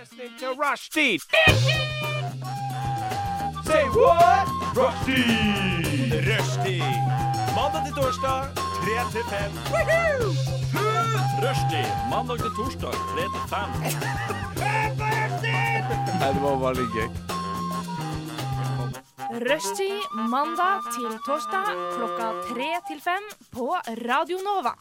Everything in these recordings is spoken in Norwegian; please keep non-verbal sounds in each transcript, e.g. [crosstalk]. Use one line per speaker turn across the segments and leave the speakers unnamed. listening to Rushdie. Say what? Rushdie. Rushdie. Mandag til torsdag, 3 til 5. Rushdie. Mandag til torsdag, 3 til 5. Nei, det var veldig gøy.
Rushtid mandag til torsdag klokka tre til fem på Radio Nova.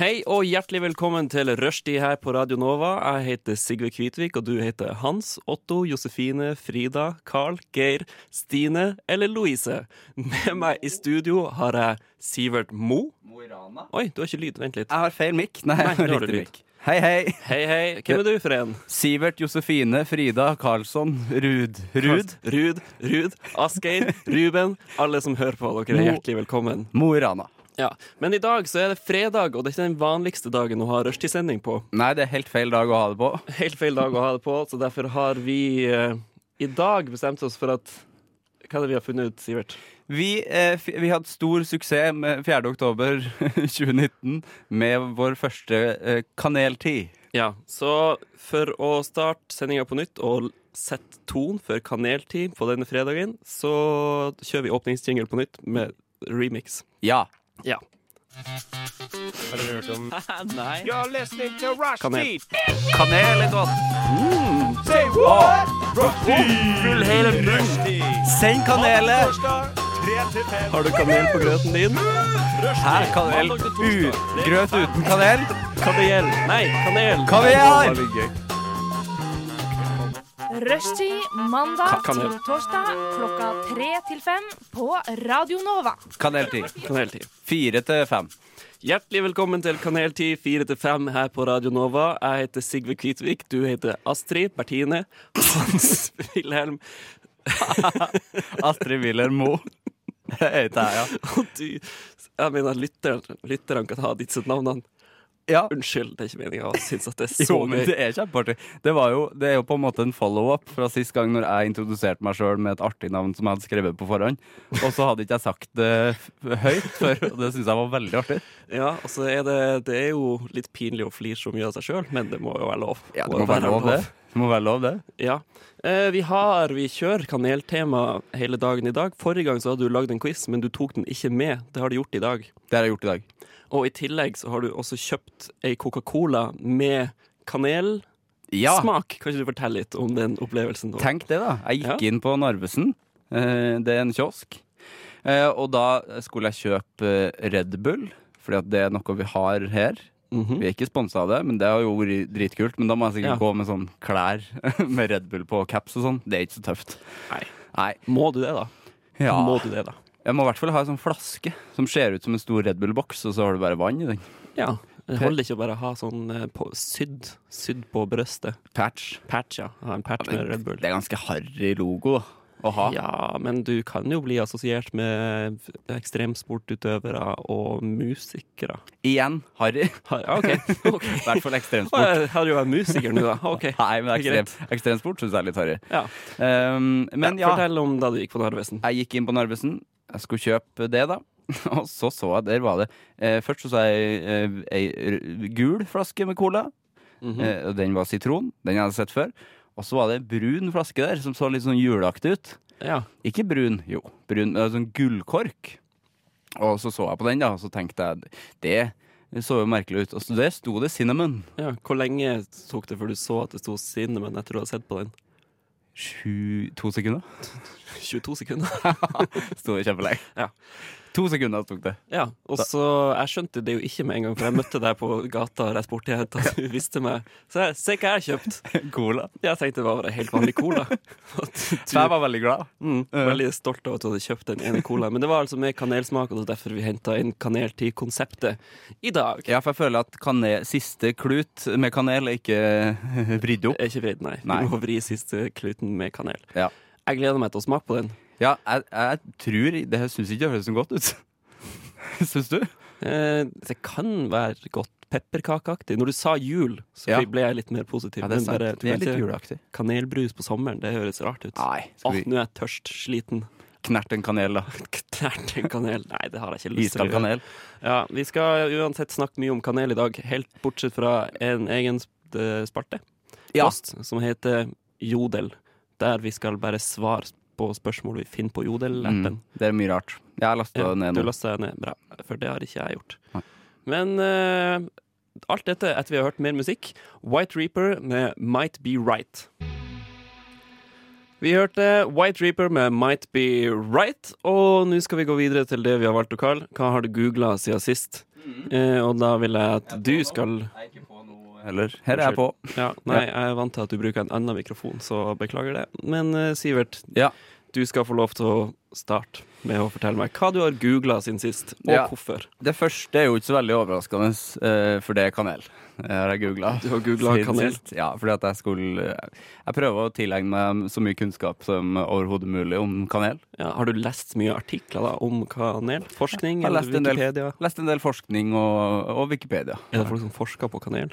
Hei og hjertelig velkommen til Rushtid her på Radio Nova. Jeg heter Sigve Kvitvik, og du heter Hans, Otto, Josefine, Frida, Carl, Geir, Stine eller Louise. Med meg i studio har jeg Sivert Mo. Oi, du har ikke lyd. Vent litt.
Jeg har feil mikk. Nei,
Nei,
jeg har
nå har du
riktig
lyd.
mikk. Hei, hei.
Hei, hei. Hvem er du for en?
Sivert, Josefine, Frida, Karlsson, Rud. Rud?
Rud, Rud, Asgeir, Ruben. Alle som hører på, dere er hjertelig velkommen.
Mo i Rana.
Ja, Men i dag så er det fredag, og det er ikke den vanligste dagen å ha rushtidssending på.
Nei, det er helt feil dag å ha det på.
Helt feil dag å ha det på, så derfor har vi eh, i dag bestemt oss for at Hva er det vi har funnet ut, Sivert?
Vi, eh, f- vi hadde stor suksess med 4. oktober [laughs] 2019 med vår første eh, kaneltid.
Ja, så for å starte sendinga på nytt og sette ton for kaneltid på denne fredagen, så kjører vi åpningsjingle på nytt med remix.
Ja.
Ja.
You're listening to Rushdie.
Kanel.
Kanel er godt.
Say what? Rushdie.
Full hele munn!
Rushdie.
Send
Mandag til
kanelet!
torsdag, 3 til 5.
Har du kanel på grøten din?
Her, kanel.
Mandag til
U
torsdag, tre til
grøt
fem.
uten kanel.
Kanel. Nei, kanel.
Kaviar!
Rushtid mandag
Ka- kan
til
jeg-
torsdag klokka tre til fem på Radio Nova.
Kaneltid.
Kaneltid.
Fire til fem.
Hjertelig velkommen til Kaneltid 4 til 5 her på Radio Nova. Jeg heter Sigve Kvitvik, du heter Astrid, Bertine, Hans Wilhelm,
Astrid Willer Mo. [laughs] Det heter jeg, ja.
og du Jeg mener, lytteren, lytteren kan ha ditt sitt navn.
ja.
Unnskyld, det er ikke meninga å synes at det er så
[laughs] Jo, men
gøy.
det er kjempeartig. Det, var jo, det er jo på en måte en follow-up fra sist gang når jeg introduserte meg sjøl med et artig navn som jeg hadde skrevet på forhånd. Og så hadde ikke jeg sagt det f- høyt før, og det syns jeg var veldig artig.
Ja, og så er det, det er jo litt pinlig å flire så mye av seg sjøl, men det må jo være lov.
det må være lov, det. Det må være lov, det.
Ja. Eh, vi har Vi kjører kaneltema hele dagen i dag. Forrige gang så hadde du lagd en quiz, men du tok den ikke med. Det har du gjort i dag.
Det har jeg gjort i dag.
Og i tillegg så har du også kjøpt ei Coca-Cola med kanelsmak.
Ja,
Kan ikke du fortelle litt om den opplevelsen? da?
tenk det, da. Jeg gikk
Ja.
inn på Narvesen. Eh, Det er en kiosk. Eh, Og da skulle jeg kjøpe eh, Red Bull, fordi at det er noe vi har her.
Mhm.
Vi er ikke sponsa av det, men det har jo vært dritkult. Men da må jeg sikkert
Ja.
gå med sånn klær [laughs] med Red Bull på og caps og sånn. Det er ikke så tøft.
Nei.
Nei.
Må du det, da?
Ja.
Må du det, da?
Jeg må i hvert fall ha en sånn flaske som ser ut som en stor Red Bull-boks, og så har du bare vann i den.
Ja. Det holder ikke å bare ha sånn eh, på, sydd, sydd på brøstet.
Patch.
Patch, ja. Ha en patch med Red Bull.
Det er ganske harry logo da, å ha.
Ja, men du kan jo bli assosiert med ekstremsportutøvere og musikere.
Igjen harry.
Har- ja, [laughs] OK. okay.
I hvert fall
Å,
ekstremsport.
jeg hadde jo vært musiker nå, da. OK.
Nei, men
Greit.
ekstrem, ekstremsport syns jeg er litt harry.
Ja.
Um, men ja,
Fortell om da du gikk på Narvesen.
jeg gikk inn på Narvesen. Jeg skulle kjøpe det, da. [laughs] Og så så jeg, der var det eh, Først så så jeg eh, ei r- gul flaske med cola.
Mhm.
eh, og den var sitron. Den jeg hadde sett før. Og så var det en brun flaske der som så litt sånn juleaktig ut.
Ja.
Ikke brun, jo. Brun, men sånn gullkork. Og så så jeg på den, da, og så tenkte jeg det så jo merkelig ut. Og så der sto det cinnamon.
Ja, Hvor lenge tok det før du så at det sto cinnamon etter du hadde sett på den? [laughs]
Sju To sekunder?
22 sekunder. [laughs]
Sto det kjempelenge.
Ja.
To sekunder tok det.
Ja, og så, Jeg skjønte det jo ikke med en gang, for jeg møtte deg på gata rett borti her. Da du viste meg Se, her, se hva jeg har kjøpt!
[laughs] Cola.
Jeg tenkte det var bare helt vanlig
[laughs]
cola. At
Så jeg var veldig glad.
Mm, veldig stolt av at du hadde kjøpt den ene colaen. Men det var altså med kanelsmak, og det er derfor vi henta inn kanel til konseptet i dag.
Ja, for jeg føler at kanel, siste klut med kanel er ikke [laughs] vridd opp.
Er ikke vridd, nei.
Nei.
Du må vri siste kluten med kanel.
Ja,
Jeg gleder meg til å smake på den.
ja jeg, jeg tror Det her syns ikke det høres så godt ut. [laughs] Syns du?
Eh, det kan være godt pepperkakeaktig. Når du sa jul, så
Ja.
ble jeg litt mer positiv. Men bare- du
Det er
kan
litt
ikke-
juleaktig.
Kanelbrus på sommeren, det høres rart ut. Åh,
Nei, skal vi
nå er jeg tørst, sliten. [laughs]
knerte en kanel, da?
Knert en kanel. Nei, det har jeg ikke lyst til. å
Iskald
gjøre.
kanel.
Ja, vi skal uansett snakke mye om kanel i dag, helt bortsett fra en egen eh, spalte
Ja.
post, som heter Jodel. Der vi skal bare svare på spørsmål vi finner på Jodel-appen.
Mm, det er mye rart. Jeg har lasta
Ja,
det ned nå.
du lasta ned. Bra. For det har ikke jeg gjort.
Nei.
Men eh, alt dette etter vi har hørt mer musikk. White Reaper med Might Be Right. Vi hørte White Reaper med Might Be Right, og nå skal vi gå videre til det vi har valgt å kalle Hva har du googla siden sist? Eh, og da vil jeg at du skal
Heller. Her er jeg på.
ja, Nei, jeg er vant til at du bruker en annen mikrofon, så beklager det. Men eh, Sivert,
Ja.
du skal få lov til å starte med å fortelle meg hva du har googla siden sist, og
Ja.
hvorfor.
Det første er jo ikke så veldig overraskende, eh, for det er kanel. Det har jeg googla.
Du har googlet kanel?
Ja, fordi at jeg skulle eh, Jeg prøver å tilegne meg så mye kunnskap som overhodet mulig om kanel.
Ja, har du lest mye artikler da om kanel?
Jeg
Forskning
har
eller
lest en del-
Wikipedia?
Lest en del forskning og, og Wikipedia.
Er det folk som forsker på kanel?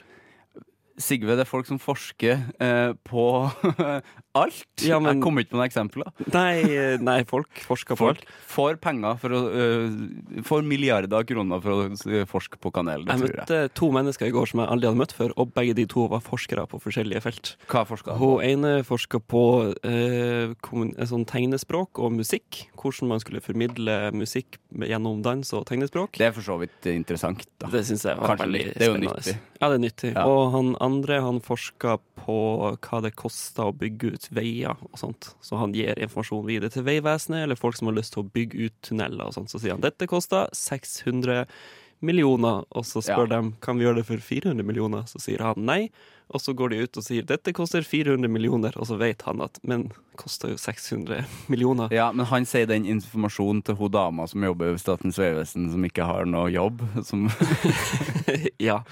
Sigve, det er folk som forsker eh, på [laughs] alt.
Ja, men-
Jeg kommer ikke på noen eksempler.
Nei, nei folk forsker på
Folk
alt.
får penger for å eh, Får milliarder av kroner for å eh, forske på kanel. Det
Jeg
tror jeg.
møtte to mennesker i går som jeg aldri hadde møtt før, og begge de to var forskere på forskjellige felt.
Hva forsker
Hun ene forska på eh, kommun- eh, sånn tegnespråk og musikk. Hvordan man skulle formidle musikk gjennom dans og tegnespråk.
Det er for så vidt interessant, da.
Det syns jeg var
Kanskje
veldig
litt. Det er jo
spennende.
nyttig.
Ja, det er nyttig.
Ja.
Og han andre han forska på hva det kosta å bygge ut veier og sånt. Så han gir informasjon videre til Vegvesenet eller folk som har lyst til å bygge ut tunneler og sånt. Så sier han dette kosta 600 millioner, og så spør de kan vi gjøre det for 400 millioner. Så sier han nei, og så går de ut og sier dette koster 400 millioner, og så vet han at men koster jo 600 millioner.
Ja, men han sier den informasjonen til hun dama som jobber i Statens vegvesen, som ikke har noe jobb. Som, det,
[laughs] ja.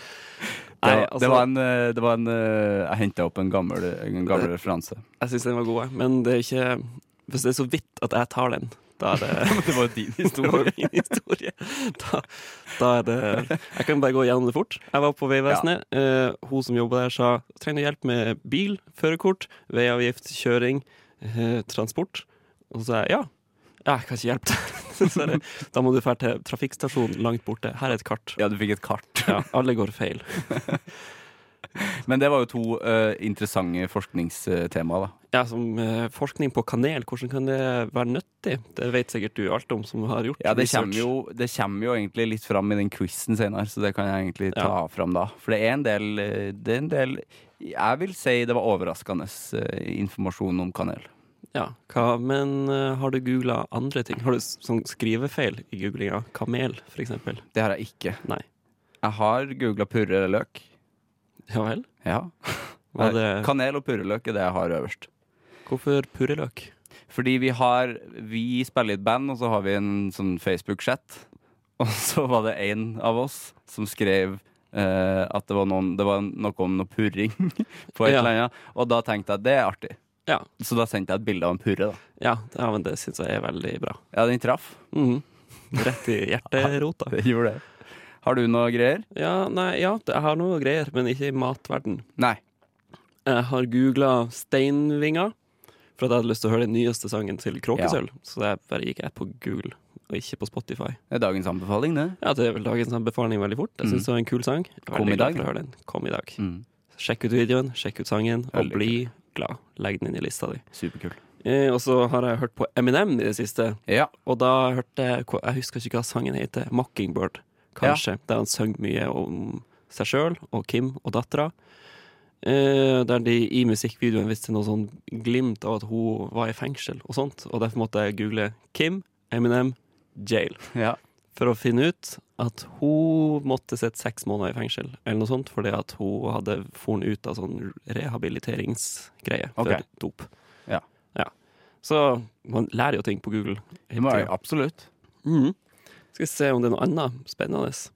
var-
Nei, altså-
det var en, eh, det var en eh, Jeg henta opp en gammel, en gammel [laughs] referanse.
Jeg syns den var god, jeg. men det er ikke Hvis det er så vidt at jeg tar den, da
[laughs]
er det,
Det var jo din
det var min historie. Da, da er det Jeg kan bare gå gjennom det fort. Jeg var på Vegvesenet. Eh, hun som jobba der, sa trenger du hjelp med bil, førerkort, veiavgift, kjøring, eh, transport. Og så sa jeg ja. Ja, jeg kan ikke hjelpe deg. [laughs] Så er det, da må du dra til trafikkstasjonen langt borte. Her er et kart.
[laughs] Ja, du fikk et kart.
Ja, alle går feil.
Men det var jo to eh, interessante forskningstemaer, da.
Ja, som eh, Forskning på kanel, hvordan kan det være nyttig? Det vet sikkert du alt om som har gjort
Ja, det
research.
kommer, jo, det kommer jo egentlig litt fram i den quizen senere, så det kan jeg egentlig ta
Ja.
fram da. For det er en del, eh, det er en del Jeg vil si det var overraskende eh, informasjon om kanel.
Ja, hva, men eh, har du googla andre ting? Har du s- sånn skrivefeil i googlinga? Kamel, for eksempel.
Det har jeg ikke.
Nei.
Jeg har googla purre eller løk.
Ja vel?
Ja.
Var det,
Kanel og purreløk er det jeg har øverst.
hvorfor purreløk?
Fordi vi har Vi spiller i et band, og så har vi en sånn Facebook-chat. Og [laughs] så var det en av oss som skrev eh, at det var, noen, det var noe om noe purring [laughs] på et
Ja.
eller annet. Og da tenkte jeg det er artig.
Ja.
Så da sendte jeg et bilde av en purre. da
Ja, ja, men det syns jeg er veldig bra.
Ja, den traff.
Mhm. [laughs] Rett i
[laughs]
hjerterota.
Det gjorde det. Har du noe greier?
Ja, nei, ja, det- jeg har noe greier, men ikke i matverden.
Nei.
Jeg har googla Steinvinger, for at jeg hadde lyst til å høre den nyeste sangen til Kråkesølv. Så jeg bare gikk jeg på Google, og ikke på Spotify.
Det er dagens anbefaling, det.
Ja, det er vel dagens anbefaling veldig fort. Jeg syns det var en kul sang. Jeg er
Kom
veldig
i
glad
dag.
for å høre den. Kom Mhm. i dag.
Mm.
Sjekk ut videoen, sjekk ut sangen, og
Veldig
bli glad. Legg den inn i lista di.
Superkul.
Eh, og så har jeg hørt på Eminem i det siste,
Ja.
og da hørte jeg hva- Jeg husker ikke hva sangen heter. 'Mockingbird', kanskje. Der han sang mye om seg sjøl og Kim og dattera. Eh, der de i musikkvideoen viste noe sånn glimt av at hun var i fengsel og sånt, og derfor måtte jeg google Kim, Eminem, jail
ja.
for å finne ut at hun måtte sitte seks måneder i fengsel, eller noe sånt, fordi at hun hadde foren ut av sånn rehabiliteringsgreie
Ok.
for dop.
Ja.
Så man lærer jo ting på Google.
Det må jeg- Absolutt.
Mhm. Skal vi se om det er noe annet spennende.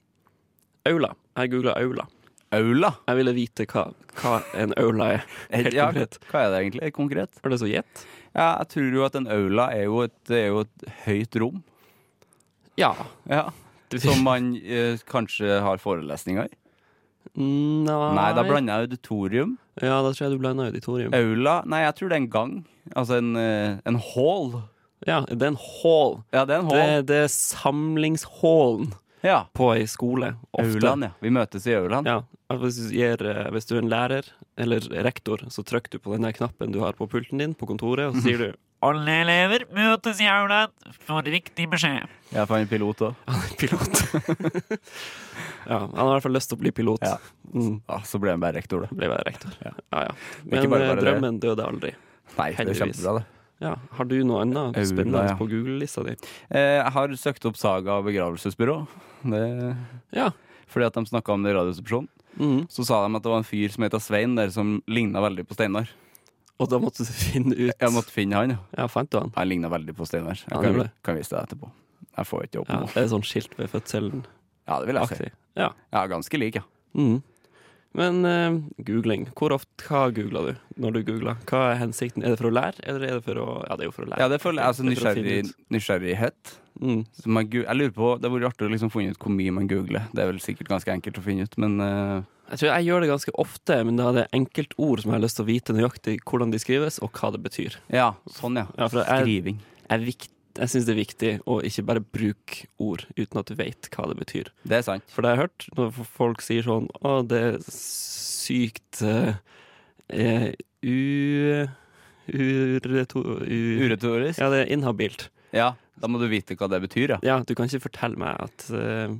Aula. Jeg googla aula.
Aula.
Jeg ville vite hva, hva en aula er. Helt
ja,
konkret.
Hva er det egentlig konkret?
Var det så gjett?
Ja, jeg tror jo at en aula er jo et, det er jo et høyt rom
Ja. [laughs]
som man eh, kanskje har forelesninger i.
Nei.
Nei, da blander jeg auditorium.
Ja, da tror jeg du blanda auditorium.
Aula Nei, jeg tror det er en gang. Altså en, eh, en hall.
Ja, det er en hall.
Ja, det er en hall.
Det, det er samlingshallen.
Ja.
på ei skole. Ofte.
Auland, ja. Vi møtes i Auland.
Ja, at hvis, du gir, eh, hvis du er en lærer eller rektor, så trykker du på den der knappen du har på pulten din på kontoret, og så sier du
Alle elever møtes i aulaen for riktig beskjed.
Jeg fant en [laughs] pilot òg.
han er pilot. [laughs] ja, han har i hvert fall lyst til å bli pilot.
Ja.
Mm,
Ah, så ble han bare rektor, da.
ble bare rektor. Ja, ja.
ikke
Men
bare
eh,
bare det.
drømmen døde aldri.
Nei, det er
Heldigvis.
kjempebra, det.
Ja. Har du noe annet
Aula,
spennende
ja.
på Google-lista di?
Eh, Jeg har søkt opp Saga begravelsesbyrå. Det,
Ja.
fordi at de snakka om det i Radioresepsjonen.
Mm.
Så sa de at det var en fyr som heter Svein der, som ligna veldig på Steinar.
Og da måtte du [laughs] finne ut
Jeg måtte finne han, ja.
Ja, fant du han?
Han ligna veldig på Steinar. Jeg
Han
kan,
gjorde det.
kan vise deg etterpå. Jeg får ikke opp
Ja,
nå.
det er sånn skilt ved fødselen-aktig.
Ja, det vil jeg si.
Ja.
Ja, ganske lik, ja.
Mm. Men eh, googling. Hvor ofte, hva googler du når du googler? Hva er hensikten? Er det for å lære, eller er det for å Ja, det er jo for å lære.
Ja, det føler jeg altså
Det er for å finne
nysgjerrig,
ut.
nysgjerrighet.
Mm.
Så man, gu- jeg lurer på, Det hadde vært artig å liksom finne ut hvor mye man googler. Det er vel sikkert ganske enkelt å finne ut, men eh,
Jeg tror jeg gjør det ganske ofte, men da er det enkeltord som jeg har lyst til å vite nøyaktig hvordan de skrives, og hva det betyr.
ja, sånn, ja.
Ja, for jeg-
Skriving.
Jeg, vikt- jeg syns det er viktig å ikke bare bruke ord uten at du vet hva det betyr.
Det er sant.
For det har jeg hørt når f- folk sier sånn Å, det er sykt eh, eh, u... Ureto... U,
Uretorisk.
ja, det er inhabilt.
Ja, da må du vite hva det betyr, ja.
Ja, du kan ikke fortelle meg at eh,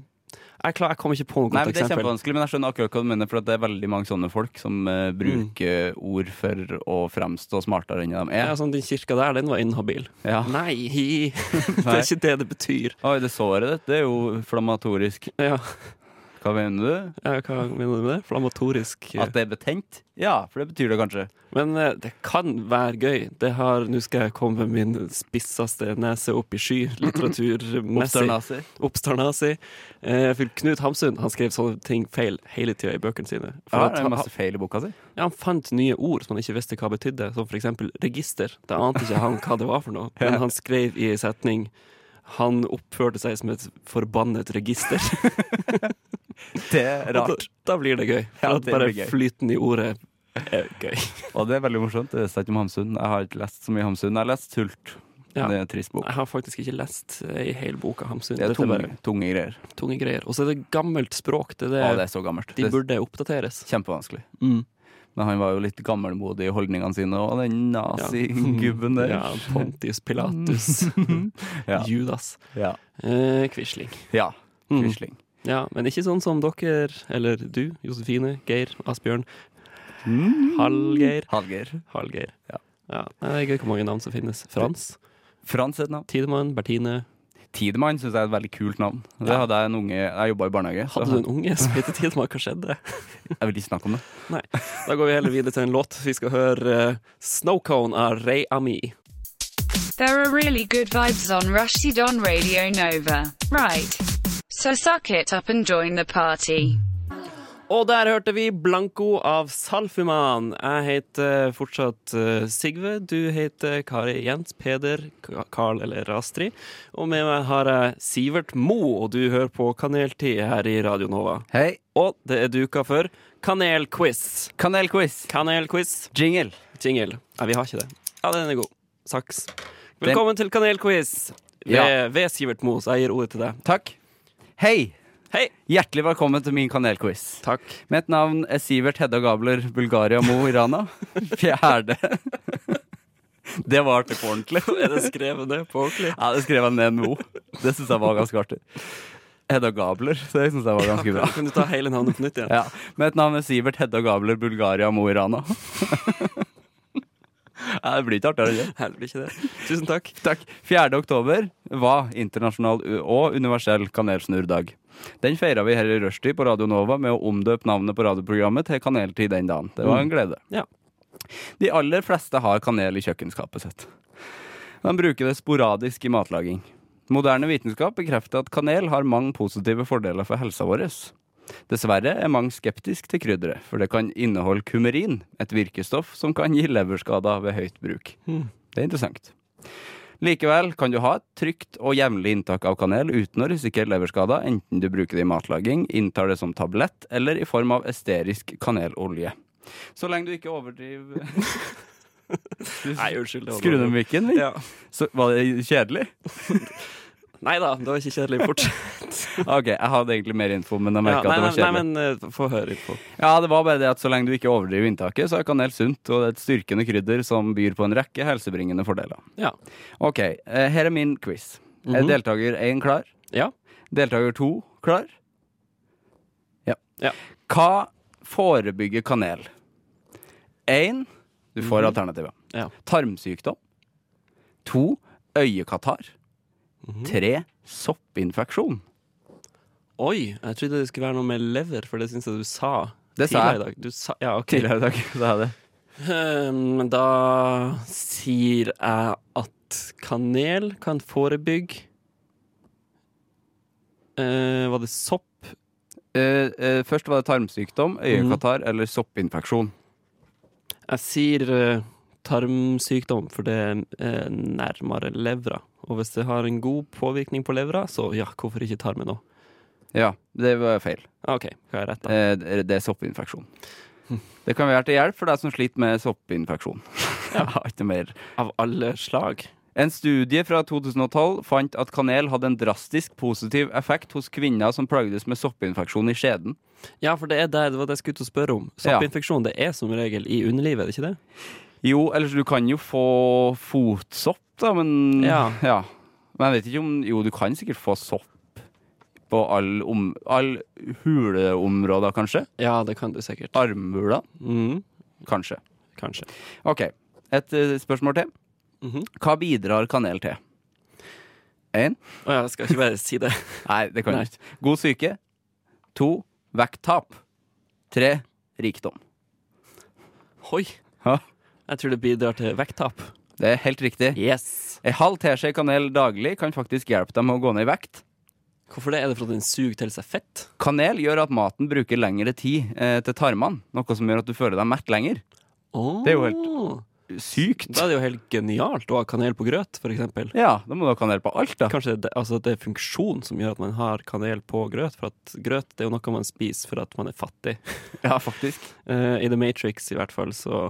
jeg, er klar, jeg kommer ikke på noe
Nei,
godt
men Det er
eksempel.
kjempevanskelig, men jeg skjønner akkurat hva du mener. For at det er veldig mange sånne folk som eh, bruker ord for å fremstå smartere enn de
Ja,
er.
sånn, den kirka der, den var inhabil.
Ja. [laughs]
Nei, hi. det er ikke det det betyr.
Oi, det såret ditt, det er jo flammatorisk.
Ja,
Hva mener du?
ja, hva mener du med det? Flammatorisk.
At det er betent? Ja, for det betyr det kanskje.
Men eh, det kan være gøy. Det har, Nå skal jeg komme med min spisseste nese opp i
[laughs]
sky, litteraturmessig.
Oppstørnaser.
Oppstarnasi. Eh, for Knut Hamsun han skrev sånne ting feil hele tida i bøkene sine. For
Ja,
at
det er
han,
masse feil i boka si.
ja, han fant nye ord som han ikke visste hva betydde, som for eksempel register. Det ante ikke han hva det var for
[laughs]
noe, men han skrev i en setning han oppførte seg som et forbannet register.
Det [laughs] er [laughs]
[laughs] Og
rart.
Da, da blir det gøy. For
Ja,
at
det
bare
blir gøy.
flyten i
[laughs]
ordet er gøy.
Og det er veldig morsomt. Det visste jeg ikke om Hamsun. Jeg har ikke lest så mye Hamsun. Jeg har lest Sult.
Ja.
Det er en trist bok.
Jeg har faktisk ikke lest eh, i hele boka Hamsun.
Det er
Dette er
tunge,
bare
tunge greier.
tunge greier. Og så er det gammelt språk. Det er det,
Å, det er så gammelt.
De
Det er
burde oppdateres.
kjempevanskelig.
Mm.
Men han var jo litt gammelmodig i holdningene sine, og den nazigubben der.
Ja, Pontius Pilatus.
[laughs] Ja.
Judas.
Ja.
Eh, Quisling.
ja.
Mm.
Quisling.
Ja, men ikke sånn som dere, eller du, Josefine, Geir, Asbjørn, Mm. Hallgeir.
Hallgeir.
Hallgeir.
Ja.
Ja, nei, Det er gøy hvor mange navn som finnes. Frans,
Frans et navn.
Tidemann, Bertine.
Tidemann syns jeg er et veldig kult navn. Det hadde jeg en unge Jeg jobba i barnehage. så
Hadde du en unge som het Tidemann? Hva skjedde?
Jeg vil ikke snakke om det.
Nei. Da går vi heller videre til en låt. Vi skal høre eh, Snowcone av Ray Ami.
There are really good vibes on Rushdie on Radio Nova. Right. So suck it up and join the party.
Og der hørte vi Blanco av Salfuman. Jeg heter fortsatt eh, Sigve. Du heter Kari Jens Peder Ka- Karl eller Astrid. Og med meg har jeg Sivert Mo, og du hører på Kaneltid her i Radio Nova.
Hei.
Og det er duka for kanelquiz.
Kanelquiz.
Kanelquiz.
Jingle.
Jingle. Nei, vi har ikke det. Ja, den er god. Saks. Velkommen til kanelquiz ved,
Ja.
ved Sivert Mo, så jeg gir ordet til deg.
Takk. Hei.
Hei!
Hjertelig velkommen til min kanelquiz.
Takk.
Mitt navn er Sivert Hedda Gabler, Bulgaria Mo i
[laughs]
Rana. Fjerde. Det var artig på ordentlig.
[laughs] Er det skrevet ned på ordentlig?
Ja, det skrev jeg ned med O. Det syns jeg var ganske artig. Hedda Gabler, det syns jeg var ganske bra.
Kan du ta hele navnet på nytt igjen?
Ja. Mitt navn er Sivert Hedda Gabler, Bulgaria Mo i Rana. [laughs] Ja, det blir ikke artigere enn det.
Nei, det blir ikke det. Tusen takk.
Takk. 4. oktober var internasjonal u- og universell kanelsnurrdag. Den feira vi her i rushtid på Radio Nova med å omdøpe navnet på radioprogrammet til Kaneltid den dagen. Det var en glede.
Ja.
De aller fleste har kanel i kjøkkenskapet sitt. Man bruker det sporadisk i matlaging. Moderne vitenskap bekrefter at kanel har mange positive fordeler for helsa vår. Dessverre er mange skeptiske til krydderet, for det kan inneholde kumerin, et virkestoff som kan gi leverskader ved høyt bruk. Det er interessant. Likevel kan du ha et trygt og jevnlig inntak av kanel uten å risikere leverskader, enten du bruker det i matlaging, inntar det som tablett eller i form av esterisk kanelolje. Så lenge du ikke
[laughs]
overdriver
Nei, unnskyld. det var
Skru ned
dårlig.
mikken min.
Ja.
Så var det kjedelig?
Nei da, det var ikke kjedelig.
[laughs]
Fortsett.
Ok, jeg hadde egentlig mer info, men jeg
Ja,
merket
nei,
at det
nei,
var
nei,
kjedelig.
men eh, få høre litt på.
Ja, det var bare det at så lenge du ikke overdriver inntaket, så er kanel sunt, og det er et styrkende krydder som byr på en rekke helsebringende fordeler.
Ja.
Ok, eh, her er min quiz. Er
Mhm.
deltaker 1 klar?
ja.
Deltaker 2 klar? Ja.
Ja.
Hva forebygger kanel? 1. Du får alternativet.
Ja.
Tarmsykdom. 2. Øyekatarr. 3. Soppinfeksjon.
Oi, jeg trodde det skulle være noe med lever, for det syns jeg du sa.
Det sa
tidligere i
jeg
dag. Du sa, ja, ok.
tidligere i dag. Det er det.
Ehm, da sier jeg at kanel kan forebygge Eh, Var det sopp?
Eh, eh, først var det tarmsykdom, øyekatarr eller soppinfeksjon.
Jeg sier eh, tarmsykdom, for det er eh, nærmere levra. Og hvis det har en god påvirkning på levra, så ja, hvorfor ikke tarmen òg?
Ja, det var feil.
OK, hva har jeg rett da?
Eh, det det er soppinfeksjon. Det kan være til hjelp for deg som sliter med soppinfeksjon. Jeg har Ikke mer
Av alle slag?
En studie fra 2012 fant at kanel hadde en drastisk positiv effekt hos kvinner som plagdes med soppinfeksjon i skjeden.
Ja, for det er der, det var det jeg skulle ut og spørre om.
Ja.
Soppinfeksjon det er som regel i underlivet, er det ikke det?
Jo, ellers du kan jo få fotsopp, da, men [laughs]
Ja.
Men jeg vet ikke om Jo, du kan sikkert få sopp på alle om, all huleområder, kanskje.
Ja, det kan du sikkert.
Armhuler,
Mhm,
kanskje.
kanskje.
OK. Et eh, spørsmål til.
Mhm.
Hva bidrar kanel til? Én.
Å ja, jeg skal ikke bare si det. [laughs]
Nei, det kan
Nei.
du ikke. God syke. To. Vekttap. Tre. Rikdom.
Hoi!
Hæ?
Jeg tror det bidrar til vekttap.
Det er helt riktig.
Yes.
En halv teskje kanel daglig kan faktisk hjelpe deg med å gå ned i vekt.
Hvorfor det? Er det fordi den suger til seg fett?
Kanel gjør at maten bruker lengre tid eh, til tarmene, noe som gjør at du føler deg mett lenger.
Åh.
Det er jo helt- Sykt!
Da er det jo helt genialt å ha kanel på grøt, for eksempel.
Ja, da må du ha kanel på alt, da.
Kanskje det, altså, det er funksjon som gjør at man har kanel på grøt, for at grøt det er jo noe man spiser for at man er fattig. [laughs]
Ja, faktisk.
Eh, I The Matrix i hvert fall så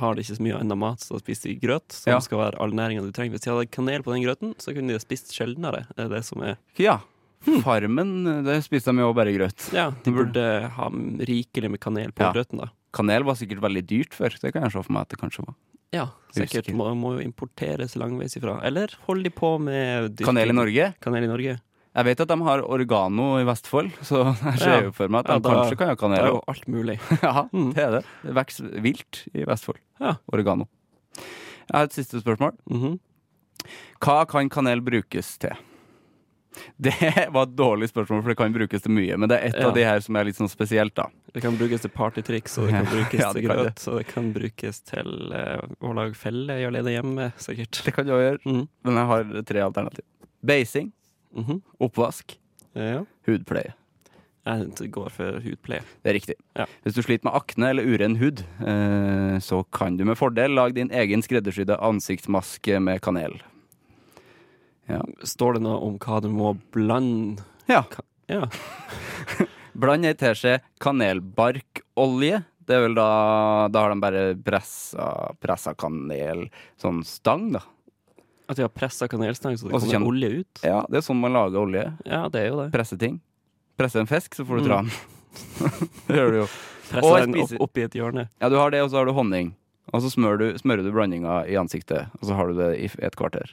har de ikke så mye annen mat, så da spiser de grøt, som
Ja.
skal være all næringa du trenger. Hvis de hadde kanel på den grøten, så kunne de ha spist sjeldnere. Det er det som er
Ja.
Hm.
Farmen, eh, det spiste de jo bare grøt.
Ja, de burde ha rikelig med kanel
Mm.
på
Ja.
grøten, da.
Kanel var sikkert veldig dyrt før, det kan jeg se for meg at det kanskje var.
Ja,
Usikker.
sikkert. Må, må jo importeres langveis ifra. Eller holder de på med dyrking-
Kanel i Norge?
Kanel i Norge.
Jeg vet at de har Organo i Vestfold, så [laughs] jeg
Ja.
ser jo for meg at de
Ja, da-
kanskje kan ha
Det er
kanel.
jo alt mulig.
[laughs]
[laughs]
Ja, det er det. Det vokser vilt i Vestfold.
Ja.
Oregano. Jeg har et siste spørsmål.
Mhm.
Hva kan kanel brukes til? Det [laughs] var et dårlig spørsmål, for det kan brukes til mye. Men det er et
Ja.
av de her som er litt sånn spesielt, da.
Det kan brukes til partytriks, og det
[laughs]
kan brukes
Ja, det
til
kan
grøt, og det kan brukes til eh, å lage felle i alene hjemme, sikkert.
Det kan jeg også gjøre,
Mhm.
Mm. men jeg har tre alternativ. Beising,
Mhm.
oppvask,
Ja.
hudpleie.
Jeg går for hudpleie.
Det er riktig.
Ja.
Hvis du sliter med akne eller uren hud, eh, så kan du med fordel lage din egen skreddersydde ansiktsmaske med kanel.
Står det noe om hva du må blande?
Ja.
Ja.
Bland ei teskje kanelbarkolje. Det er vel da Da har de bare pressa, pressa kanel Sånn stang, da.
At de har pressa kanelstang så det
Og så
kommer
kjenner-
olje ut?
Ja, Det er sånn man lager olje.
Ja, det er jo det.
Presse ting. Presse en fisk, så får du
Mm.
dra den. [laughs] det gjør du jo. Og
Pressa den opp,
spiser-
opp i et hjørne.
Ja, du har det, og så har du honning. Og så smører du, smører du blandinga i ansiktet, og så har du det i f- et kvarter.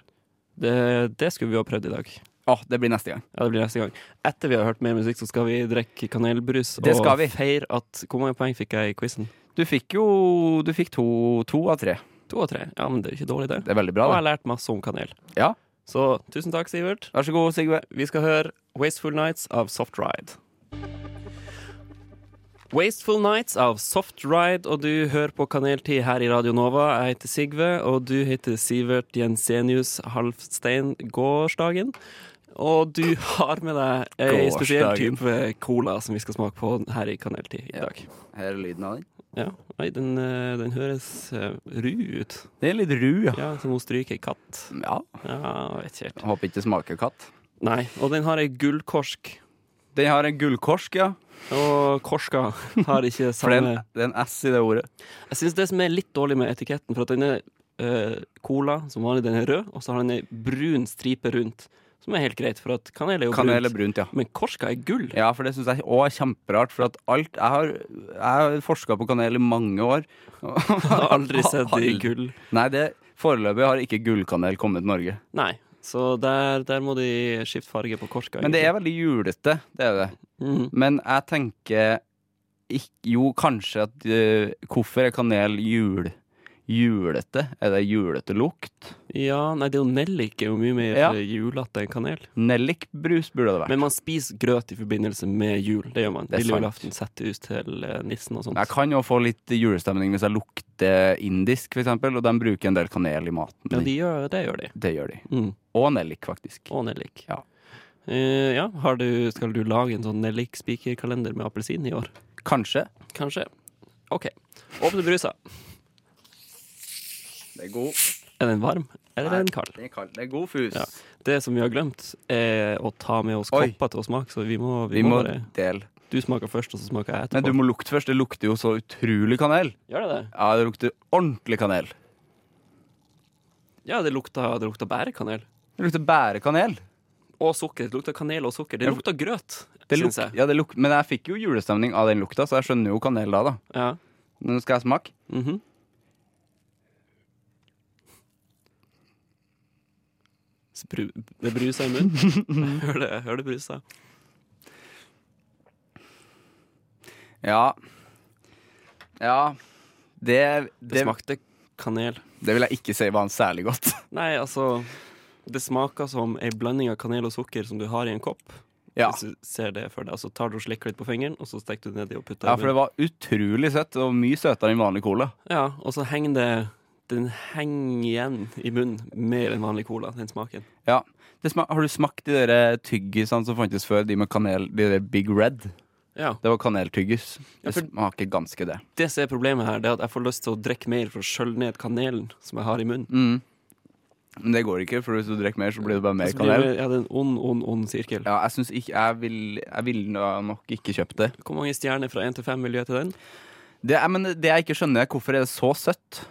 Det, det skulle vi ha prøvd i dag.
Å, det blir neste gang.
Ja, det blir neste gang. Etter vi har hørt mer musikk, så skal vi drikke kanelbrus
Det skal vi.
og feire at Hvor mange poeng fikk jeg i quizen?
Du fikk jo Du fikk to, to av tre.
To og tre. Ja, men det er ikke dårlig, det.
Det er veldig
Og
bra.
jeg
det.
har lært masse om kanel.
Ja.
Så tusen takk, Sivert.
Vær så god, Sigve.
Vi skal høre Wasteful Nights av Soft Ride. Wasteful Nights av Soft Ride, og du hører på Kaneltid her i Radio Nova. Jeg heter Sigve, og du heter Sivert Jensenius Halfstein Gårsdagen. Og du har med deg ei spesiell
Gårsdagen.
type cola som vi skal smake på her i Kaneltid i
Ja.
dag.
Her er lyden av den.
Ja, Oi, den, eh, den høres eh, ru ut.
Den er litt ru, ja.
Ja, Som hun stryker ei katt.
ja.
Ja, jeg vet ikke helt.
Håper ikke det smaker katt.
Nei, og den har ei gullkorsk.
Den har en gullkorsk, ja.
Og korska har
[laughs]
ikke
For det er
samme
en, det er en S i det ordet.
Jeg syns det som er litt dårlig med etiketten, for at den er eh, cola, som vanlig, den er rød, og så har den ei brun stripe rundt. Som er helt greit, for at kanel er jo
Kanel er
brunt.
brunt, ja.
Men korska er gull.
Ja, for det syns jeg òg er kjemperart. For at alt Jeg har, jeg har forska på kanel i mange år. [laughs]
[laughs] Jeg har aldri sett i
Aldri.
gull.
Nei, det foreløpig har ikke gullkanel kommet til Norge.
Nei. Så der, der må de skifte farge på korska.
Men det er veldig julete, det er det.
Mhm.
Men jeg tenker ikk- jo kanskje at eh, Hvorfor er kanel jul? Julete? Er det julete lukt?
Ja, nei, det er jo nellik er jo mye mer
Ja.
eh, julete enn kanel.
Nellikbrus burde det vært.
Men man spiser grøt i forbindelse med jul. Det gjør man.
Det er
Lille
sant.
julaften setter ut til eh, nissen og sånt.
jeg kan jo få litt julestemning hvis jeg lukter indisk, f.eks., og de bruker en del kanel i maten.
Ja,
min.
de gjør, det gjør de.
Det gjør de.
Mm.
Og nellik, faktisk.
Og nellik.
Ja.
Eh, ja. Har du, skal du lage en sånn nellikspikerkalender med appelsin i år?
Kanskje.
Kanskje. OK. Åpne brusa.
Det er god.
Er den varm, eller er den kald?
Det er kald. Det er god fus.
Ja. Det som vi har glemt, er å ta med oss
Oi.
kopper til å smake, så vi må, vi
Vi
må
må
bare
dele.
Du smaker først, og så smaker jeg
Men
etterpå.
du må lukte først. Det lukter jo så utrolig kanel.
Gjør det det?
Ja, det lukter ordentlig kanel.
Ja, det lukta, det lukta bærekanel.
Det lukter bærekanel.
Og sukker. Det lukta kanel og sukker. Det
Ja.
lukta grøt,
Det luk
syns jeg.
ja, det luk men jeg fikk jo julestemning av den lukta, så jeg skjønner jo kanel da. da.
Ja.
Nå skal jeg smake.
Mhm. Spru det bruser i
[laughs]
munnen. Hør det, hør det bruser.
Ja. Ja. Det,
Det
det,
smakte kanel.
det vil jeg ikke si var særlig
[laughs]
godt.
Nei, altså Det smaker som ei blanding av kanel og sukker som du har i en kopp.
Ja.
Hvis du ser det for deg, så tar du og slikker litt på fingeren, og så steker du det nedi og putter
ja,
i
for det
munnen.
var utrolig søtt, og mye søtere enn vanlig cola.
Ja, og så henger det Den henger igjen i munnen mer enn vanlig cola, den smaken.
Ja. Det sma har du smakt de der tyggisene som fantes før, de med kanel, de der Big Red?
Ja.
Det var kaneltyggis.
Ja,
Det
for-
smaker ganske det.
Det som er problemet her, det er at jeg får lyst til å drikke mer for å skjølle ned kanelen som jeg har i munnen.
Men det går ikke, for hvis du drikker mer, så blir det bare mer
Så blir
kanel.
Altså, det- Ja, det er en ond, ond, ond sirkel.
Ja, jeg synes ikke Jeg vil, jeg vil nok ikke kjøpt det.
Hvor mange stjerner fra 1 til 5 vil du gi til den?
Det, jeg, men det jeg ikke skjønner, er hvorfor er det så søtt?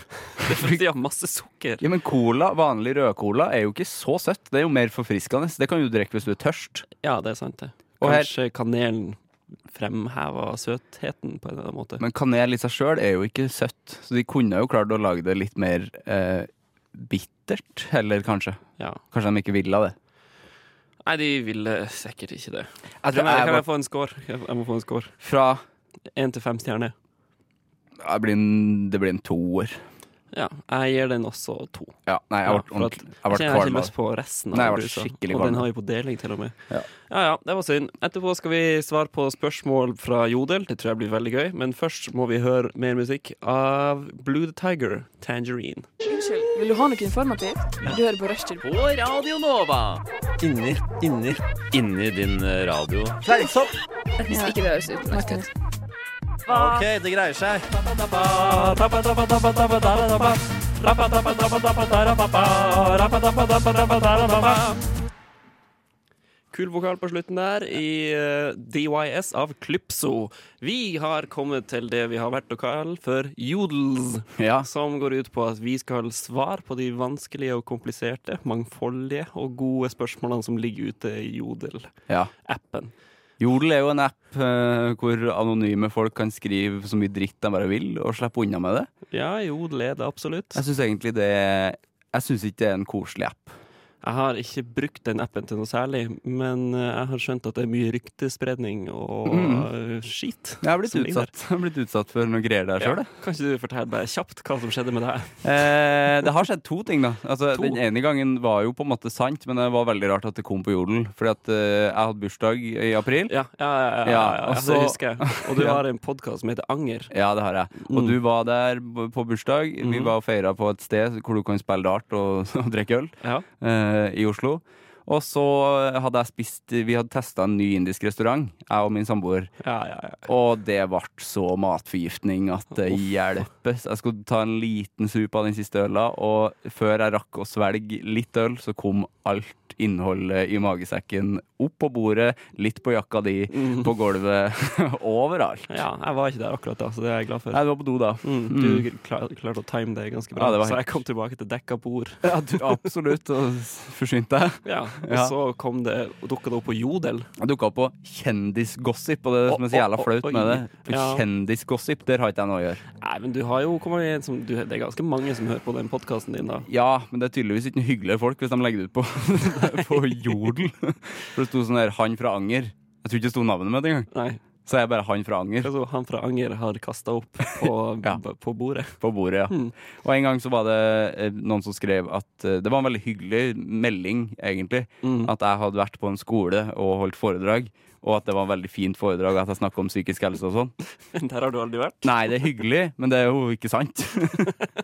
[laughs] Det er fordi de har masse sukker.
Ja, men cola, vanlig rød cola, er jo ikke så søtt. Det er jo mer forfriskende. Det kan du drikke hvis du er tørst.
Ja, det er sant, det.
Og her-
Kanskje kanelen fremhever søtheten på en eller annen måte.
Men kanel i seg sjøl er jo ikke søtt, så de kunne jo klart å lage det litt mer eh, bittert, heller kanskje.
Ja.
Kanskje de ikke ville det.
Nei, de ville sikkert ikke det.
Jeg
Kan
tror
Altså, jeg,
jeg
kan jeg
var
få en score? Jeg- Jeg må få en score.
fra
Én til fem stjerner.
ja, det, blir en, det blir en toer.
Ja, jeg gir den også to.
Ja, nei, jeg
Ja,
ble
for at-
ordentlig Jeg
Jeg kjenner
ble
jeg har ikke
kvalm.
lyst på resten. av
Nei, jeg ble
brusa.
skikkelig
Og den
kvalm.
har vi på deling, til og med. Ja.
Ja.
ja det var synd. Etterpå skal vi svare på spørsmål fra Jodel. Det tror jeg blir veldig gøy. Men først må vi høre mer musikk av Blue the Tiger, Tangerine.
Unnskyld, vil du ha noe informativt? Du hører på Rushtid.
Inni din eh, radio.
Hvis ikke det høres utmerket ut.
OK, det greier seg.
Kul vokal på slutten der i eh, DYS av Klypso. Vi har kommet til det vi har vært å kalle for jodels.
Ja.
Som går ut på at vi skal svare på de vanskelige og kompliserte, mangfoldige og gode spørsmålene som ligger ute i Jodel-appen.
ja. Jodel er jo en app eh, hvor anonyme folk kan skrive så mye dritt de bare vil, og slippe unna med det.
Ja, Jodel er det absolutt.
Jeg syns egentlig det Jeg syns ikke det er en koselig app.
Jeg har ikke brukt den appen til noe særlig, men eh, jeg har skjønt at det er mye ryktespredning og eh, skit.
Mm. Jeg har blitt, sånn-
som ligger der.
utsatt. [laughs] Jeg har blitt utsatt for noen greier der sjøl.
Ja. Kan ikke du fortelle bare kjapt hva som skjedde med deg?
Eh, det har skjedd to ting, da. Altså,
To?
Den ene gangen var jo på en måte sant, men det var veldig rart at det kom på jodel. Fordi at eh, jeg hadde bursdag i april.
Ja, ja, ja, ja, ja,
Ja,
ja,
og
ja, det
så-
husker jeg. Og
[laughs]
du
Ja.
har en podkast som heter Anger.
Ja, det har jeg. Og
Mm.
du var der b- på bursdag. Vi
Mhm.
var og feira på et sted hvor du kan spille dart og, [laughs] og drikke øl
Ja.
eh, i Oslo. Og så hadde jeg spist Vi hadde testa en ny indisk restaurant, jeg og min samboer.
Ja, ja, ja.
Og det ble så matforgiftning at det hjelpes. Jeg skulle ta en liten sup av den siste øla, og før jeg rakk å svelge litt øl, så kom alt alt innholdet i magesekken opp på bordet, litt på jakka di, på gulvet, [laughs] overalt.
Ja, jeg var ikke der akkurat da, så det er jeg glad for.
Nei, du var på do da.
Mm, du klar, klarte å time det ganske bra,
Ja, det var
så
helt-
jeg kom tilbake til dekka bord.
Ja, du absolutt og forsynte deg.
Ja, og
Ja.
så kom det, og dukket det opp på Jodel.
Jeg dukka opp på kjendisgossip, og det er det som er så jævla
Å, å,
flaut
oi.
med det. For
Ja.
kjendisgossip, der har ikke jeg noe å gjøre.
Nei, men du har jo kommer det en som, du, Det er ganske mange som hører på den podkasten din, da.
Ja, men det er tydeligvis ikke noen hyggeligere folk hvis de legger det ut på, på Jodel. For det sto sånn der 'Han fra Anger'. Jeg tror ikke det sto navnet mitt engang.
Nei,
Så er jeg bare 'Han fra Anger'
altså, han fra Anger har kasta opp på,
[laughs] Ja.
b- på bordet.
på bordet. ja.
Mm.
Og en gang så var det eh, noen som skrev at eh, Det var en veldig hyggelig melding, egentlig.
Mm.
At jeg hadde vært på en skole og holdt foredrag. Og at det var en veldig fint foredrag, at jeg snakka om psykisk helse og sånn.
Der har du aldri vært?
Nei, det er hyggelig, men det er jo ikke sant.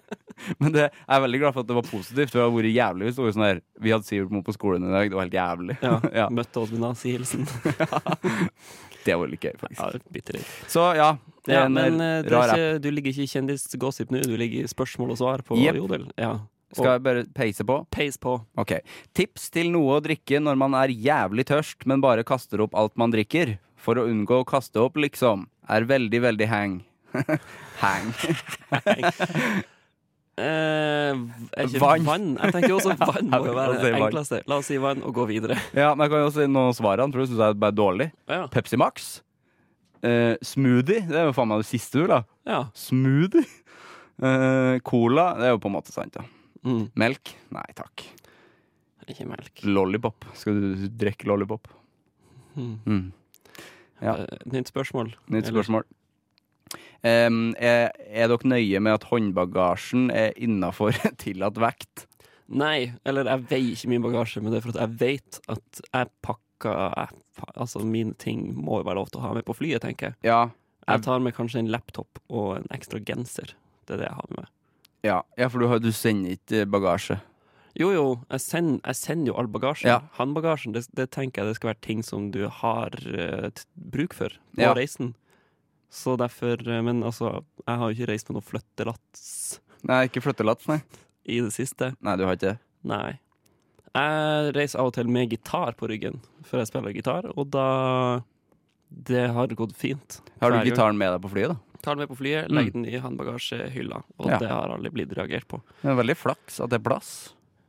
[laughs] men det, jeg er veldig glad for at det var positivt. For det hadde vært jævlig hvis det var sånn der Vi hadde Sivert Moe på skolen i dag, det var helt jævlig.
Ja,
[laughs] Ja.
Møtte oss med nazihilsen.
[laughs] Det hadde vært litt gøy, faktisk.
Ja, bitterhet.
Så ja, det er
Ja,
en
men eh, det
rar
er
app.
ikke, du ligger ikke i kjendisgossip nå, du ligger i spørsmål og svar på
Jepp.
Jodel. Ja.
Skal jeg bare peise på?
Peis på.
Ok. Tips til noe å drikke når man er jævlig tørst, men bare kaster opp alt man drikker. For å unngå å kaste opp, liksom. Er veldig, veldig hang. [laughs] hang. [laughs]
Eh, er ikke
Vann.
vann. Jeg tenker også
[laughs]
vann må jo
La
være
oss si
det
vann.
enkleste. La oss si vann og gå videre.
Ja, men jeg kan jo si noen av svarene. Tror du syns jeg er bare dårlig?
Ja.
Pepsi Max. Eh, smoothie. Det er jo faen meg det siste du la.
ja.
Smoothie. [laughs] Eh, cola. Det er jo på en måte sant, da.
Mm.
Melk. Nei takk.
Ikke melk.
Lollipop. Skal du drikke lollipop?
Mm.
Mm. Ja.
Eh, Nytt spørsmål.
Nytt
Eller-
spørsmål. Em, er, er dere nøye med at håndbagasjen er innafor [laughs] tillatt vekt?
Nei, eller jeg veier ikke min bagasje, men det er for at jeg vet at jeg pakker jeg, pa- Altså, mine ting må jo være lov til å ha med på flyet, tenker jeg.
Ja.
Jeg tar med kanskje en laptop og en ekstra genser. Det er det jeg har med meg.
Ja, ja for du, har, du sender ikke eh, bagasje.
Jo, jo, jeg sender, jeg sender jo all bagasjen.
Ja.
Håndbagasjen, det, det tenker jeg det skal være ting som du har eh, t- bruk for på
Ja.
reisen. Så derfor eh, Men altså, jeg har jo ikke reist med noe flyttelass
Nei, ikke flyttelatt, nei.
i det siste.
Nei, du har ikke det.
Nei. Jeg reiser av og til med gitar på ryggen, for jeg spiller gitar, og da Det har gått fint.
Har
Hver
du
gang.
gitaren med deg på flyet, da?
Tar den med på flyet, legger den i håndbagasjehylla, og
Ja.
det har aldri blitt reagert på.
Det er veldig flaks at det er plass.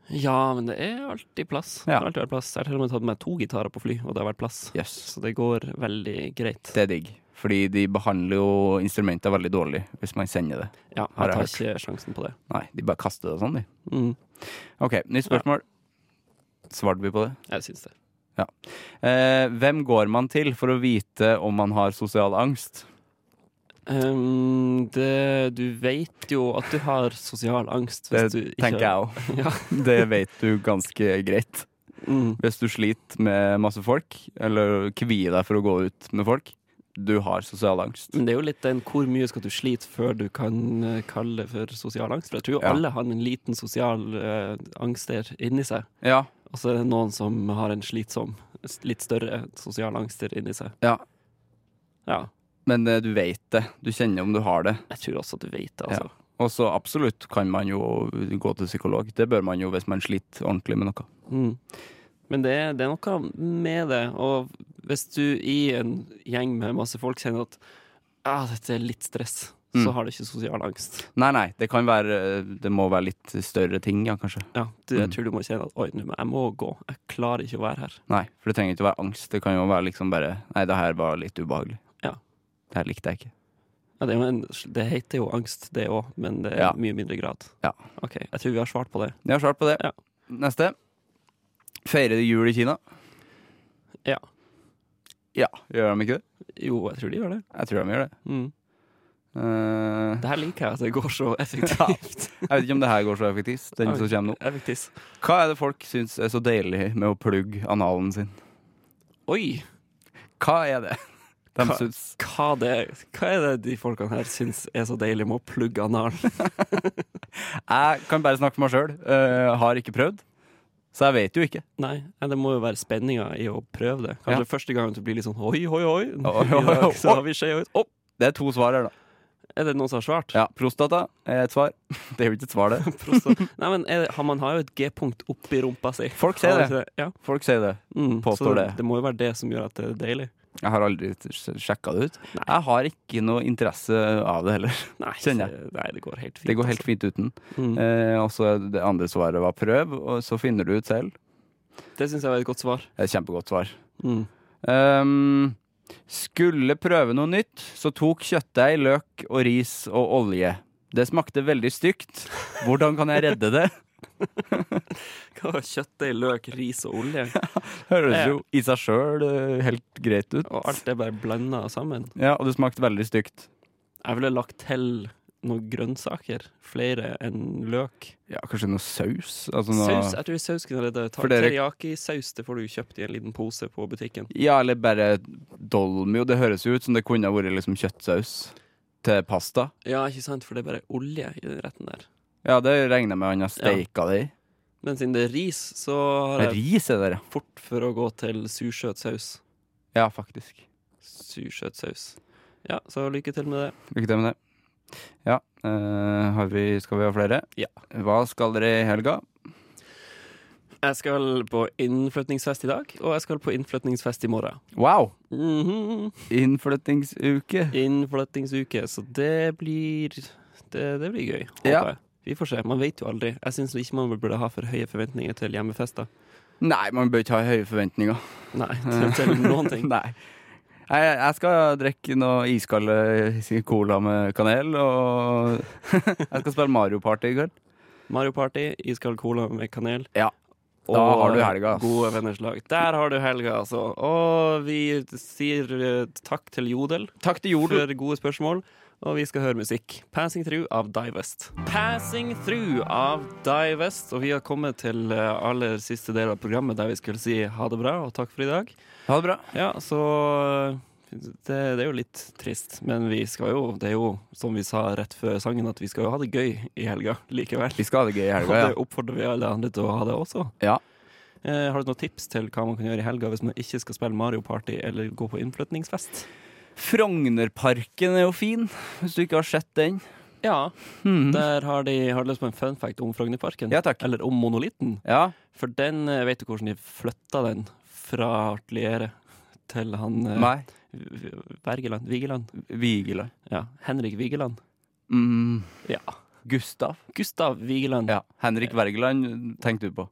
Ja, men det er alltid plass. Det
Ja.
har alltid vært plass. Jeg har til og med tatt med to gitarer på fly, og det har vært plass.
Yes.
Så det går veldig greit.
Det er digg. Fordi de behandler jo instrumenter veldig dårlig hvis man sender det.
Ja,
Har jeg
jeg tar
hørt.
ikke sjansen på det.
Nei, de bare kaster det og sånn, de.
Mm,
OK, nytt spørsmål. Svarte vi på det?
jeg syns det.
Eh, hvem går man til for å vite om man har sosial angst?
Ehm, det. Du vet jo at du har sosial angst
Det
hvis du ikke
tenker
har-
jeg òg.
[laughs]
Det vet du ganske greit.
Mm,
Hvis du sliter med masse folk, eller kvier deg for å gå ut med folk, du har sosial angst.
men det er jo litt den hvor mye skal du slite før du kan eh, kalle det for sosial angst? For jeg tror jo
Ja.
alle har en liten sosial eh, angst der inni seg.
Ja,
Og så er det noen som har en slitsom, litt større sosial angst der inni seg.
Ja.
Ja.
men eh, du vet det. Du kjenner om du har det.
Jeg tror også at du vet det, altså.
Og så absolutt kan man jo gå til psykolog. Det bør man jo hvis man sliter ordentlig med noe.
Mm. Men det, er- det er noe med det, og hvis du i en gjeng med masse folk kjenner at ah, dette er litt stress, så
Mm.
har du ikke sosial angst.
Nei, nei, det kan være eh, Det må være litt større ting, ja, kanskje.
Ja, du,
Mm.
jeg tror du må kjenne at oi, nå må- jeg må gå, jeg klarer ikke å være her.
Nei, for det trenger ikke å være angst. Det kan jo være liksom bare Nei, det her var litt ubehagelig.
Ja.
Det her likte jeg ikke.
Ja, det, er jo en, det heter jo angst, det òg, men det er
Ja.
mye mindre grad.
Ja.
Ok, Jeg tror vi har svart på det.
Jeg har svart på det.
Ja.
Neste. Feirer de jul i Kina?
Ja.
Ja, Gjør de ikke det?
Jo, jeg tror de gjør det.
Jeg tror de gjør det.
Mm.
Eh,
Det her liker jeg, at det går
[laughs]
så effektivt.
jeg vet ikke om det her går så effektivt. Den som kommer nå.
Effektivt.
Hva er det folk syns er så deilig med å plugge analen sin?
Oi,
Hva er det de
Hva-
syns?
hva, det, hva er det de folkene her syns er så deilig med å plugge analen? [laughs]
Jeg kan bare snakke for meg sjøl. har ikke prøvd, så jeg vet jo ikke.
Nei, ja, det må jo være spenninga i å prøve det. Kanskje
Ja.
første gangen du blir litt sånn oi, oi, oi.
Oi,
I dag
oi,
[laughs] så
oi.
har vi skjea ut. Opp!
Det er to svar her, da.
Er det noen som har svart?
Ja, prostata er et svar. [laughs] Det er jo ikke et svar, det.
Prostat. Nei, men er det, har- man har jo et G-punkt oppi rumpa si.
Folk sier
Har man
det.
ikke Ja.
Folk sier det.
Mm,
Påstår
så
det.
det må jo være det som gjør at det er deilig.
Jeg har aldri sjekka det ut. Jeg har ikke noe interesse av det heller.
Nei,
Kjenner
så- Nei, det går helt fint.
Det går helt fint uten.
Mm.
Eh, og så det andre svaret var prøv, og så finner du ut selv.
Det syns jeg var et godt svar.
Det er et kjempegodt svar.
Mm.
Ehm, skulle prøve noe nytt, så tok kjøttdeig, løk og ris og olje. Det smakte veldig stygt. Hvordan kan jeg redde det?
Hva var Kjøttdeig, løk, ris og
[laughs]
olje.
[laughs] Høres jo i seg sjøl helt greit ut.
Og alt er bare blanda sammen.
Ja, og det smakte veldig stygt.
Jeg ville lagt til noen grønnsaker. Flere enn løk.
Ja, kanskje noe saus? Altså
Saus,
noe
jeg tror saus kunne redde
For dere-
Teriyaki-saus det får du kjøpt i en liten pose på butikken.
Ja, eller bare dolmio. Det høres jo ut som det kunne ha vært liksom kjøttsaus til pasta.
Ja, ikke sant, for det er bare olje i den retten der.
Ja, det regner jeg med han har steika det i.
Men siden det er ris, så har jeg
Ris er det, ja.
fort for å gå til sursøt saus.
Ja, faktisk.
Sursøt saus. Ja, så lykke til med det.
Lykke til med det. Ja, eh, har vi, skal vi ha flere?
Ja.
Hva skal dere i helga?
Jeg skal på innflytningsfest i dag, og jeg skal på innflytningsfest i morgen.
Wow!
Mhm.
Innflyttingsuke.
Innflyttingsuke, så det blir Det, det blir gøy, håper
Ja.
jeg. Vi får se. Man vet jo aldri. Jeg syns ikke man burde ha for høye forventninger til hjemmefester.
Nei, man bør ikke ha høye forventninger.
Nei, til, til noen
[laughs]
ting.
Nei. Jeg, jeg skal drikke noe iskalde cola med kanel, og [laughs] jeg skal spille Mario Party i kveld.
Mario Party, iskald cola med kanel.
Ja.
Og
Da har du helga, ass.
Gode venners lag. Der har du helga, altså. Og vi sier eh, takk til Jodel
Takk til Jodel.
for gode spørsmål. Og vi skal høre musikk. 'Passing Through' av Divest. 'Passing Through' av Divest. Og vi har kommet til eh, aller siste del av programmet der vi skulle si ha det bra og takk for i dag.
Ha det bra.
Ja, så eh, det, det er jo litt trist, men vi skal jo Det er jo som vi sa rett før sangen, at vi skal jo ha det gøy i helga likevel.
Vi skal ha det gøy i
Og
helga,
det
ja.
oppfordrer vi alle andre til å ha det også.
Ja.
Eh, har du noen tips til hva man kan gjøre i helga hvis man ikke skal spille Mario Party eller gå på innflytningsfest?
Frognerparken er jo fin, hvis du ikke har sett den.
Ja,
Hmm.
der har de har du lyst på en fun fact om Frognerparken.
Ja, takk.
Eller om monolitten.
Ja.
For den, eh, vet du hvordan de flytta den fra Artelieret til han eh,
Nei.
V- Wergeland? Vigeland?
Vigeland.
Ja, Henrik Vigeland.
Mm.
Ja.
Gustav.
Gustav Vigeland.
Ja. Henrik Wergeland tenkte du på.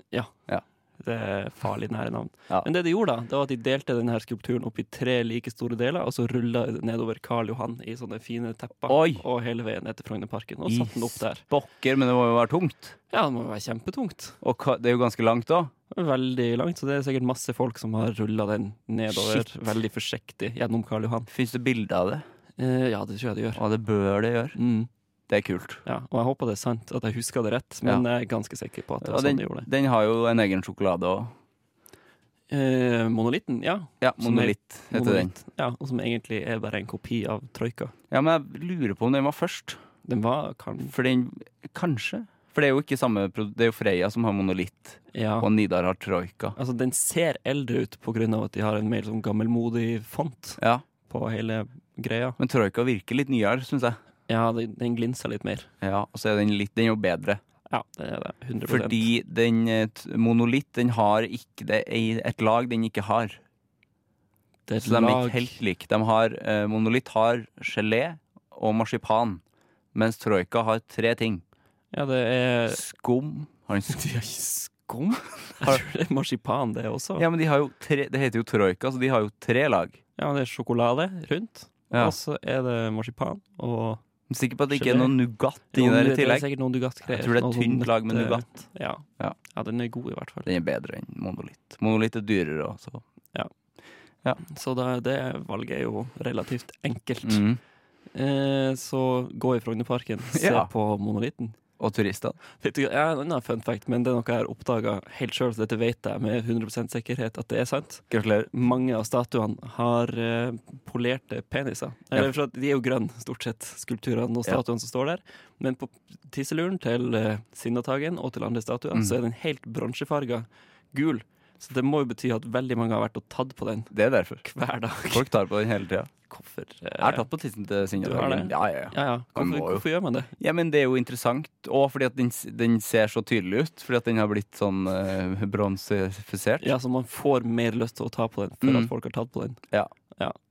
Det er farlig nære navn.
Ja.
Men det de gjorde, da, det var at de delte denne skulpturen opp i tre like store deler, og så rulla nedover Karl Johan i sånne fine tepper
Oi.
og hele veien ned til Frognerparken. Og
I
satte den opp der.
Bokker, men det må jo være tungt.
Ja, det må være kjempetungt.
Og ka- det er jo ganske langt òg.
Veldig langt, så det er sikkert masse folk som har rulla den nedover
Shit.
veldig forsiktig gjennom Karl Johan.
Fins det bilde av det?
Eh, ja, det tror jeg det gjør.
Og det bør det gjøre.
Mm,
Det er kult.
ja, og jeg håper det er sant, at jeg husker det rett, men jeg er ganske sikker på at det
Og
var sånn
den,
de gjorde det.
den har jo en egen sjokolade òg.
Eh, monolitten, ja.
Ja,
Som er-
Monolitt heter den.
Monolitt, Ja, og som egentlig er bare en kopi av Troika.
Ja, men jeg lurer på om den var først.
Den var kan...
For den Kanskje? For det er jo ikke samme pro- Det er jo Freya som har monolitt,
Ja.
og Nidar har troika.
Altså, den ser eldre ut på grunn av at de har en mer sånn gammelmodig font
Ja,
på hele greia.
Men troika virker litt nyere, syns jeg.
Ja, den, den glinser litt mer.
Ja, Og så er den litt Den er jo bedre.
Ja, det er det. 100
Fordi den eh, t- monolitt, den har ikke Det er et lag den ikke har.
det
Så de er ikke helt like. De har, eh, monolitt har gelé og marsipan, mens troika har tre ting.
Ja, det er
Skum har en
De
[laughs] skum.
har ikke skum? [laughs] Jeg tror det er marsipan, det også.
Ja,
Ja,
men de har jo tre, Det heter jo troika, så de har jo tre lag.
men det er sjokolade rundt,
Ja.
og så er det marsipan og
Jeg er sikker på at det ikke er
Gelé.
noe nougat i
Jo,
der i
det er
tillegg.
sikkert noen nougat-greier.
Jeg tror det er
Noe
et eh,
sånn
tynt lag med
nøtte-
nougat.
Ja.
Ja.
ja, den er god, i hvert fall.
Den er bedre enn monolitt. Monolitt er dyrere, altså.
Så da, det valget er jo relativt enkelt.
Mhm.
Eh, så gå i Frognerparken, se
Ja.
på monolitten.
Og turistene.
Vet du, hva, jeg har en annen fun fact, men det er noe jeg har oppdaga helt sjøl, så dette vet jeg med 100 sikkerhet at det er sant.
Gratulerer.
Mange av statuene har eh, polerte peniser. Eller,
Ja.
for at de er jo grønne, stort sett, skulpturene og
Ja.
statuene som står der. Men på tisseluren til eh, Sinnataggen og til andre statuer,
Mm.
så er den helt bronsefarga gul. Så det må jo bety at veldig mange har vært og tatt på den
Det er derfor.
hver dag. [laughs]
Folk tar på den hele tida.
Hvorfor? eh,
Jeg har tatt på tissen til Sinja.
Du har det?
Ja, ja, ja.
Ja, ja.
Man må
Hvorfor,
jo.
hvorfor gjør man det?
ja, men det er jo interessant. Og fordi at den, s- den ser så tydelig ut. Fordi at den har blitt sånn eh, bronsefisert.
Ja, så man får mer lyst til å ta på den før
Mm.
at folk har tatt på den.
Ja.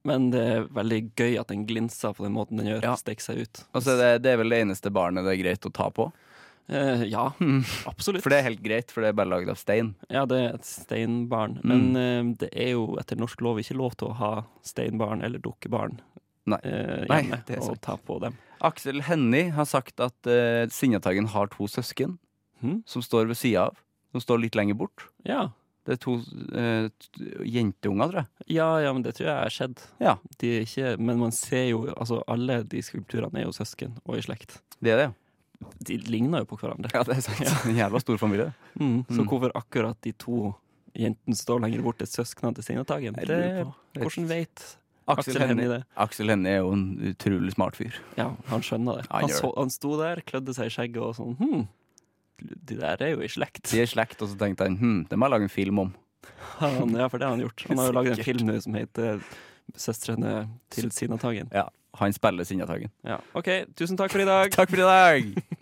Men det er veldig gøy at den glinser på den måten den gjør.
Ja.
Stikker seg ut.
Altså, det, det er vel det eneste barnet det er greit å ta på.
Eh, ja,
Mm.
absolutt.
For det er helt greit, for det Mm. er bare lagd av stein.
Ja, det er et steinbarn. Men eh, det er jo etter norsk lov ikke lov til å ha steinbarn eller dukkebarn
Nei.
eh,
Nei,
hjemme
det er
og
sant.
ta på dem.
Aksel Hennie har sagt at uh, Sinjatagen har to søsken
Hm?
som står ved sida av. Som står litt lenger bort.
Ja.
Det er to eh, t- jenteunger, tror jeg.
ja, ja, men det tror jeg har skjedd.
Ja.
De er ikke, men man ser jo altså Alle de skulpturene er jo søsken og i slekt.
Det er det,
De ligner jo på hverandre.
ja. det er sant. En [laughs] jævla stor familie.
Mm, så
Mm.
hvorfor akkurat de to jentene står lenger bort til søsknene til Signatagen?
Jeg
Det,
lurer
hvordan vet
Aksel,
Aksel Hennie
Hennie
det?
Aksel Hennie er jo en utrolig smart fyr.
Ja, han skjønner det.
Ja, han
Han,
gjør
så, han sto der, klødde seg i skjegget og sånn Hm, de der er jo i slekt.
De er i slekt, og så tenkte han hm, det må jeg lage en film om.
[laughs] Han, ja, for det har han gjort. Han har jo laget en
Sikkert.
film nå som heter Søstrene til Signatagen.
Han spiller Sinjatagen.
Ja. OK, tusen takk for i dag.
Takk for i dag!